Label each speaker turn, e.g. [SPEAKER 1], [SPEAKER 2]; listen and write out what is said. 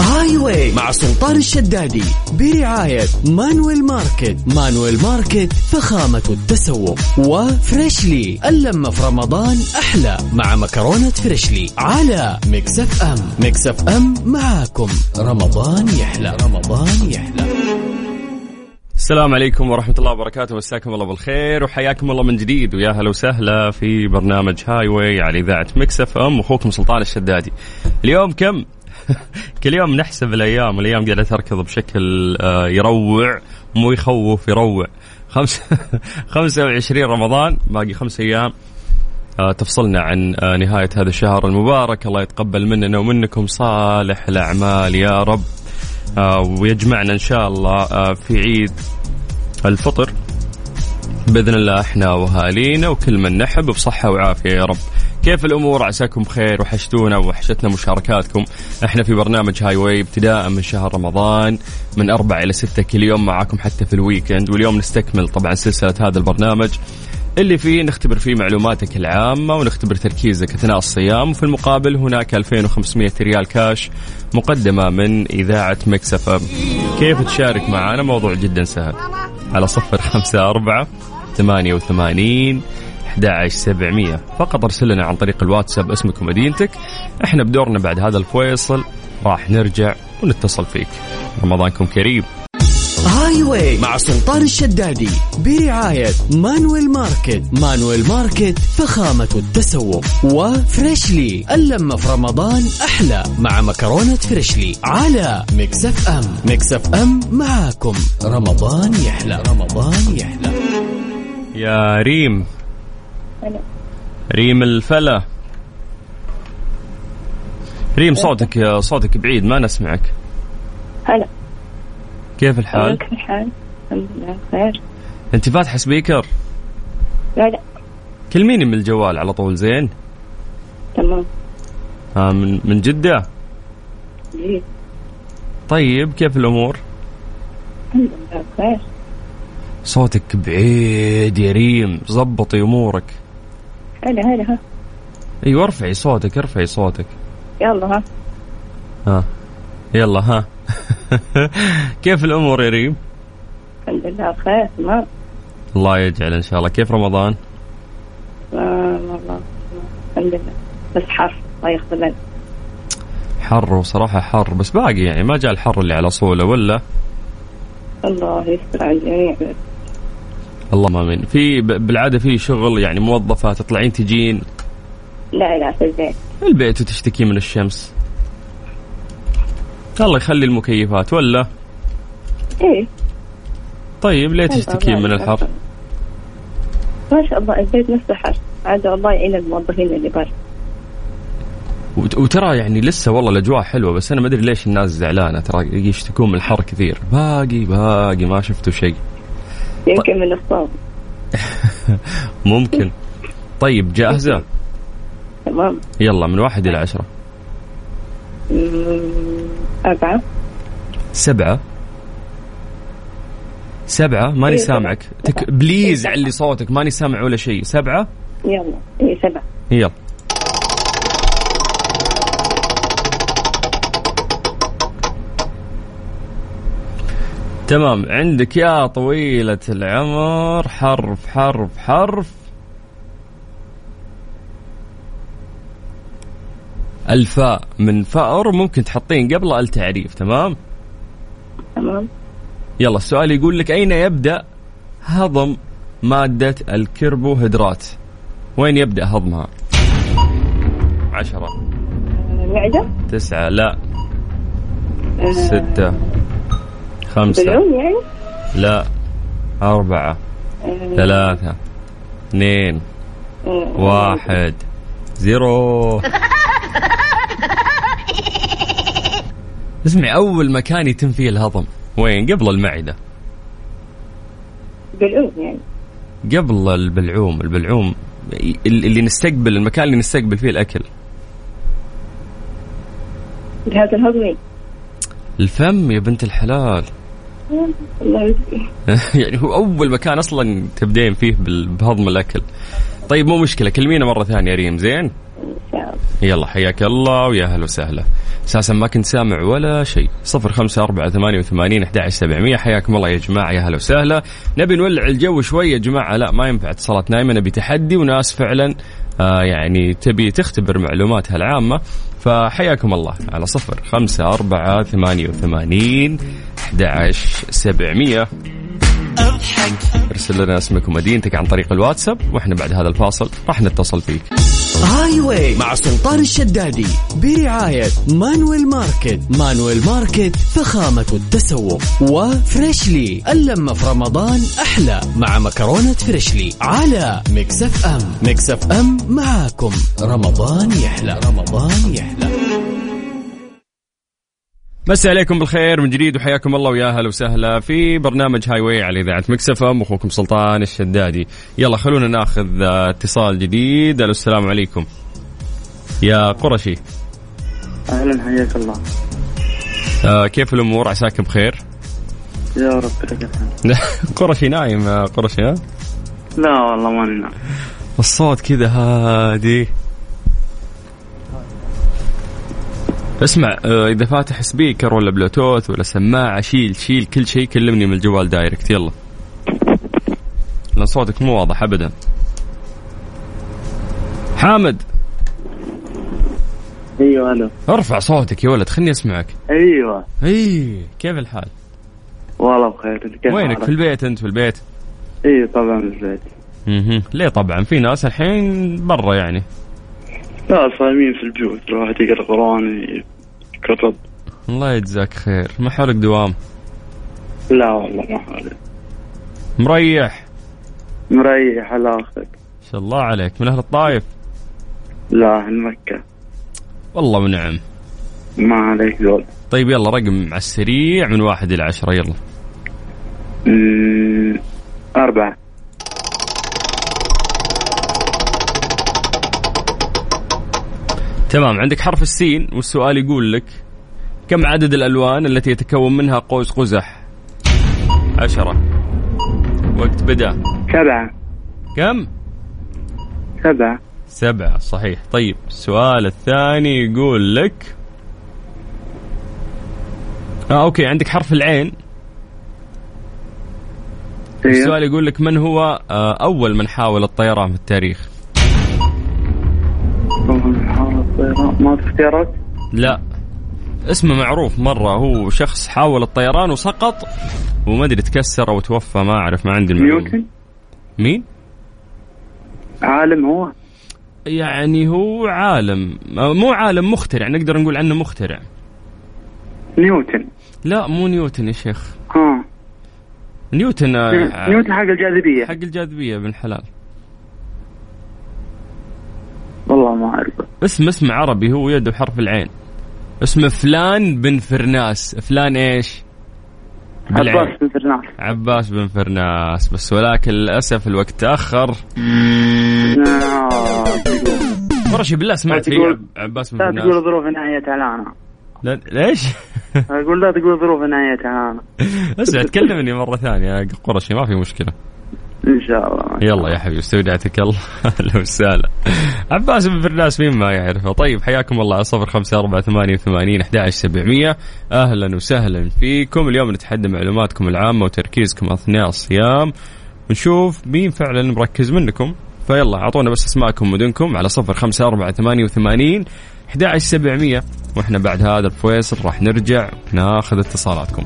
[SPEAKER 1] هاي واي مع سلطان الشدادي برعاية مانويل ماركت مانويل ماركت فخامة التسوق وفريشلي اللمة في رمضان أحلى مع مكرونة فريشلي على مكسف أم مكسف أم معاكم رمضان يحلى رمضان يحلى
[SPEAKER 2] السلام عليكم ورحمة الله وبركاته مساكم الله بالخير وحياكم الله من جديد ويا هلا وسهلا في برنامج هاي واي على إذاعة مكس اف ام أخوكم سلطان الشدادي. اليوم كم؟ كل يوم نحسب الأيام والأيام قاعدة تركض بشكل آه، يروع مو يخوف يروع. خمس 25 رمضان باقي خمس أيام آه، تفصلنا عن آه، نهاية هذا الشهر المبارك الله يتقبل مننا ومنكم صالح الأعمال يا رب آه، ويجمعنا إن شاء الله آه، في عيد الفطر باذن الله احنا واهالينا وكل من نحب بصحه وعافيه يا رب. كيف الامور عساكم بخير وحشتونا وحشتنا مشاركاتكم احنا في برنامج هاي واي ابتداء من شهر رمضان من أربعة الى ستة كل يوم معاكم حتى في الويكند واليوم نستكمل طبعا سلسله هذا البرنامج اللي فيه نختبر فيه معلوماتك العامة ونختبر تركيزك أثناء الصيام وفي المقابل هناك 2500 ريال كاش مقدمة من إذاعة مكسفة كيف تشارك معنا موضوع جدا سهل على صفر خمسة أربعة ثمانية وثمانين 11700 فقط ارسل لنا عن طريق الواتساب اسمك ومدينتك احنا بدورنا بعد هذا الفيصل راح نرجع ونتصل فيك رمضانكم كريم
[SPEAKER 1] هاي واي مع سلطان الشدادي برعاية مانويل ماركت مانويل ماركت فخامة التسوق وفريشلي اللمة في رمضان أحلى مع مكرونة فريشلي على مكسف أم مكسف أم معاكم رمضان يحلى رمضان يحلى
[SPEAKER 2] يا ريم
[SPEAKER 3] هلا.
[SPEAKER 2] ريم الفلا ريم صوتك صوتك بعيد ما نسمعك
[SPEAKER 3] هلا
[SPEAKER 2] كيف الحال؟
[SPEAKER 3] كيف الحال؟ الحمد لله بخير
[SPEAKER 2] انت فاتحه سبيكر
[SPEAKER 3] لا لا
[SPEAKER 2] كلميني من الجوال على طول زين
[SPEAKER 3] تمام
[SPEAKER 2] آه، من من جده
[SPEAKER 3] جيد
[SPEAKER 2] طيب كيف الامور؟
[SPEAKER 3] الحمد لله بخير
[SPEAKER 2] صوتك بعيد يا ريم ظبطي امورك
[SPEAKER 3] هلا هلا ها
[SPEAKER 2] ايوه ارفعي صوتك ارفعي صوتك
[SPEAKER 3] يلا ها
[SPEAKER 2] ها يلا ها كيف الامور يا ريم؟
[SPEAKER 3] الحمد لله بخير تمام
[SPEAKER 2] الله يجعل ان شاء الله كيف رمضان؟
[SPEAKER 3] آه، والله الحمد لله بس حر الله يغفر لنا
[SPEAKER 2] حر وصراحة حر بس باقي يعني ما جاء الحر اللي على صولة ولا
[SPEAKER 3] الله يستر على الجميع
[SPEAKER 2] اللهم امين في ب- بالعادة في شغل يعني موظفة تطلعين تجين
[SPEAKER 3] لا لا في البيت
[SPEAKER 2] البيت وتشتكي من الشمس الله يخلي المكيفات ولا
[SPEAKER 3] ايه
[SPEAKER 2] طيب ليه
[SPEAKER 3] والله
[SPEAKER 2] تشتكين
[SPEAKER 3] الله
[SPEAKER 2] من
[SPEAKER 3] يستر.
[SPEAKER 2] الحر
[SPEAKER 3] ما شاء الله البيت نفسه حر عاد الله يعين الموظفين اللي برا
[SPEAKER 2] وت- وترى يعني لسه والله الاجواء حلوه بس انا ما ادري ليش الناس زعلانه ترى يشتكون من الحر كثير باقي باقي ما شفتوا شيء
[SPEAKER 3] يمكن من الصوم
[SPEAKER 2] ممكن طيب جاهزه
[SPEAKER 3] تمام
[SPEAKER 2] يلا من واحد الى عشره
[SPEAKER 3] مم، أمم، أربعة
[SPEAKER 2] سبعة سبعة ماني
[SPEAKER 3] إيه،
[SPEAKER 2] سامعك
[SPEAKER 3] سبعة.
[SPEAKER 2] تك...
[SPEAKER 3] سبعة.
[SPEAKER 2] بليز
[SPEAKER 3] إيه،
[SPEAKER 2] علي صوتك ماني سامع ولا شيء سبعة
[SPEAKER 3] يلا ايه سبعة
[SPEAKER 2] يلا تمام عندك يا طويلة العمر حرف حرف حرف الفاء من فأر ممكن تحطين قبل التعريف تمام
[SPEAKER 3] تمام
[SPEAKER 2] يلا السؤال يقول لك أين يبدأ هضم مادة الكربوهيدرات وين يبدأ هضمها عشرة
[SPEAKER 3] آه، معدة
[SPEAKER 2] تسعة لا
[SPEAKER 3] آه،
[SPEAKER 2] ستة خمسة
[SPEAKER 3] بالعون يعني
[SPEAKER 2] لا أربعة
[SPEAKER 3] آه،
[SPEAKER 2] ثلاثة اثنين
[SPEAKER 3] آه،
[SPEAKER 2] واحد زيرو اسمعي أول مكان يتم فيه الهضم وين قبل المعدة
[SPEAKER 3] بالعون يعني
[SPEAKER 2] قبل البلعوم البلعوم اللي نستقبل المكان اللي نستقبل فيه الاكل
[SPEAKER 3] جهاز الهضمي
[SPEAKER 2] الفم يا بنت الحلال
[SPEAKER 3] uh, الله يجزيك.
[SPEAKER 2] يعني هو اول مكان اصلا تبدين فيه بال- بهضم الاكل طيب مو مشكله كلمينا مره ثانيه يا ريم زين
[SPEAKER 3] ان شاء شاء الله
[SPEAKER 2] يلا حياك الله ويا اهلا وسهلا اساسا ما كنت سامع ولا شيء 0548811700 حياكم الله يا جماعه يا اهلا وسهلا نبي نولع الجو شوي يا جماعه لا ما ينفع اتصالات نايمه نبي تحدي وناس فعلا آه يعني تبي تختبر معلوماتها العامه فحياكم الله على صفر خمسة أربعة ثمانية وثمانين أحد عشر سبعمية ارسل لنا اسمك ومدينتك عن طريق الواتساب واحنا بعد هذا الفاصل راح نتصل فيك
[SPEAKER 1] هاي واي مع سلطان الشدادي برعاية مانويل ماركت مانويل ماركت فخامة التسوق وفريشلي اللمة في رمضان أحلى مع مكرونة فريشلي على مكسف أم مكسف أم معاكم رمضان يحلى رمضان يحلى
[SPEAKER 2] مسي عليكم بالخير من جديد وحياكم الله ويا اهلا وسهلا في برنامج هاي واي على اذاعه مكسف ام اخوكم سلطان الشدادي يلا خلونا ناخذ آه، اتصال جديد الو السلام عليكم يا قرشي
[SPEAKER 4] اهلا حياك الله
[SPEAKER 2] آه كيف الامور عساك بخير
[SPEAKER 4] يا رب لك الحمد
[SPEAKER 2] قرشي نايم آه، قرشي ها
[SPEAKER 4] لا والله ماني نعم
[SPEAKER 2] الصوت كذا هادي اسمع آه، اذا فاتح سبيكر ولا بلوتوث ولا سماعه شيل شيل كل شيء كلمني من الجوال دايركت يلا لان صوتك مو واضح ابدا حامد
[SPEAKER 4] ايوه الو
[SPEAKER 2] ارفع صوتك يا ولد خلني اسمعك
[SPEAKER 4] ايوه
[SPEAKER 2] اي كيف الحال
[SPEAKER 4] والله بخير انت كيف أيوة،
[SPEAKER 2] وينك في البيت انت في البيت
[SPEAKER 4] اي طبعا في البيت
[SPEAKER 2] مهم. ليه طبعا في ناس الحين برا يعني
[SPEAKER 4] لا صايمين في البيوت الواحد يقرا قران يكتب
[SPEAKER 2] الله يجزاك خير ما حولك دوام
[SPEAKER 4] لا والله ما حالي
[SPEAKER 2] مريح
[SPEAKER 4] مريح على اخرك
[SPEAKER 2] ما شاء الله عليك من اهل الطايف
[SPEAKER 4] لا اهل مكه
[SPEAKER 2] والله ونعم
[SPEAKER 4] ما عليك دول
[SPEAKER 2] طيب يلا رقم على السريع من واحد إلى عشرة يلا
[SPEAKER 4] أمم، أربعة
[SPEAKER 2] تمام عندك حرف السين والسؤال يقول لك كم عدد الألوان التي يتكون منها قوس قزح عشرة وقت بدأ
[SPEAKER 4] سبعة
[SPEAKER 2] كم
[SPEAKER 4] سبعة
[SPEAKER 2] سبعة صحيح طيب السؤال الثاني يقول لك آه أوكي عندك حرف العين
[SPEAKER 4] أيوة.
[SPEAKER 2] السؤال يقول لك من هو آه، أول من حاول الطيران في التاريخ
[SPEAKER 4] ما في اختيارات
[SPEAKER 2] لا اسمه معروف مرة هو شخص حاول الطيران وسقط وما أدري تكسر أو توفى ما أعرف ما عندي المعلومة
[SPEAKER 4] نيوتن
[SPEAKER 2] مين؟
[SPEAKER 4] عالم هو
[SPEAKER 2] يعني هو عالم آه، مو عالم مخترع نقدر نقول عنه مخترع
[SPEAKER 4] نيوتن
[SPEAKER 2] لا مو نيوتن يا شيخ
[SPEAKER 4] ها
[SPEAKER 2] نيوتن آه،
[SPEAKER 4] نيوتن حق الجاذبية
[SPEAKER 2] حق الجاذبية بن حلال
[SPEAKER 4] والله ما أعرفه
[SPEAKER 2] اسم اسم عربي هو يده بحرف العين اسمه فلان بن فرناس فلان ايش بالعين.
[SPEAKER 4] عباس بن فرناس
[SPEAKER 2] عباس بن فرناس بس ولكن للاسف الوقت تاخر
[SPEAKER 4] لا
[SPEAKER 2] قرشي بالله سمعت في
[SPEAKER 4] لا تقول-
[SPEAKER 2] عب- عباس بن
[SPEAKER 4] تقول
[SPEAKER 2] فرناس
[SPEAKER 4] ظروف نهايتها الآن
[SPEAKER 2] لا- ليش؟
[SPEAKER 4] أقول لا تقول ظروف نهايتها الآن
[SPEAKER 2] اسمع تكلمني مره ثانيه يا قرشي ما في مشكله
[SPEAKER 4] إن شاء الله
[SPEAKER 2] يلا يا حبيبي استودعتك الله اهلا وسهلا عباس بن فرناس مين ما يعرفه طيب حياكم الله على صفر خمسة أربعة ثمانية وثمانين أحد عشر سبعمية أهلا وسهلا فيكم اليوم نتحدى معلوماتكم العامة وتركيزكم أثناء الصيام ونشوف مين فعلا مركز منكم فيلا أعطونا بس أسماءكم مدنكم على صفر خمسة أربعة ثمانية وثمانين أحد عشر سبعمية وإحنا بعد هذا الفويصل راح نرجع ناخذ اتصالاتكم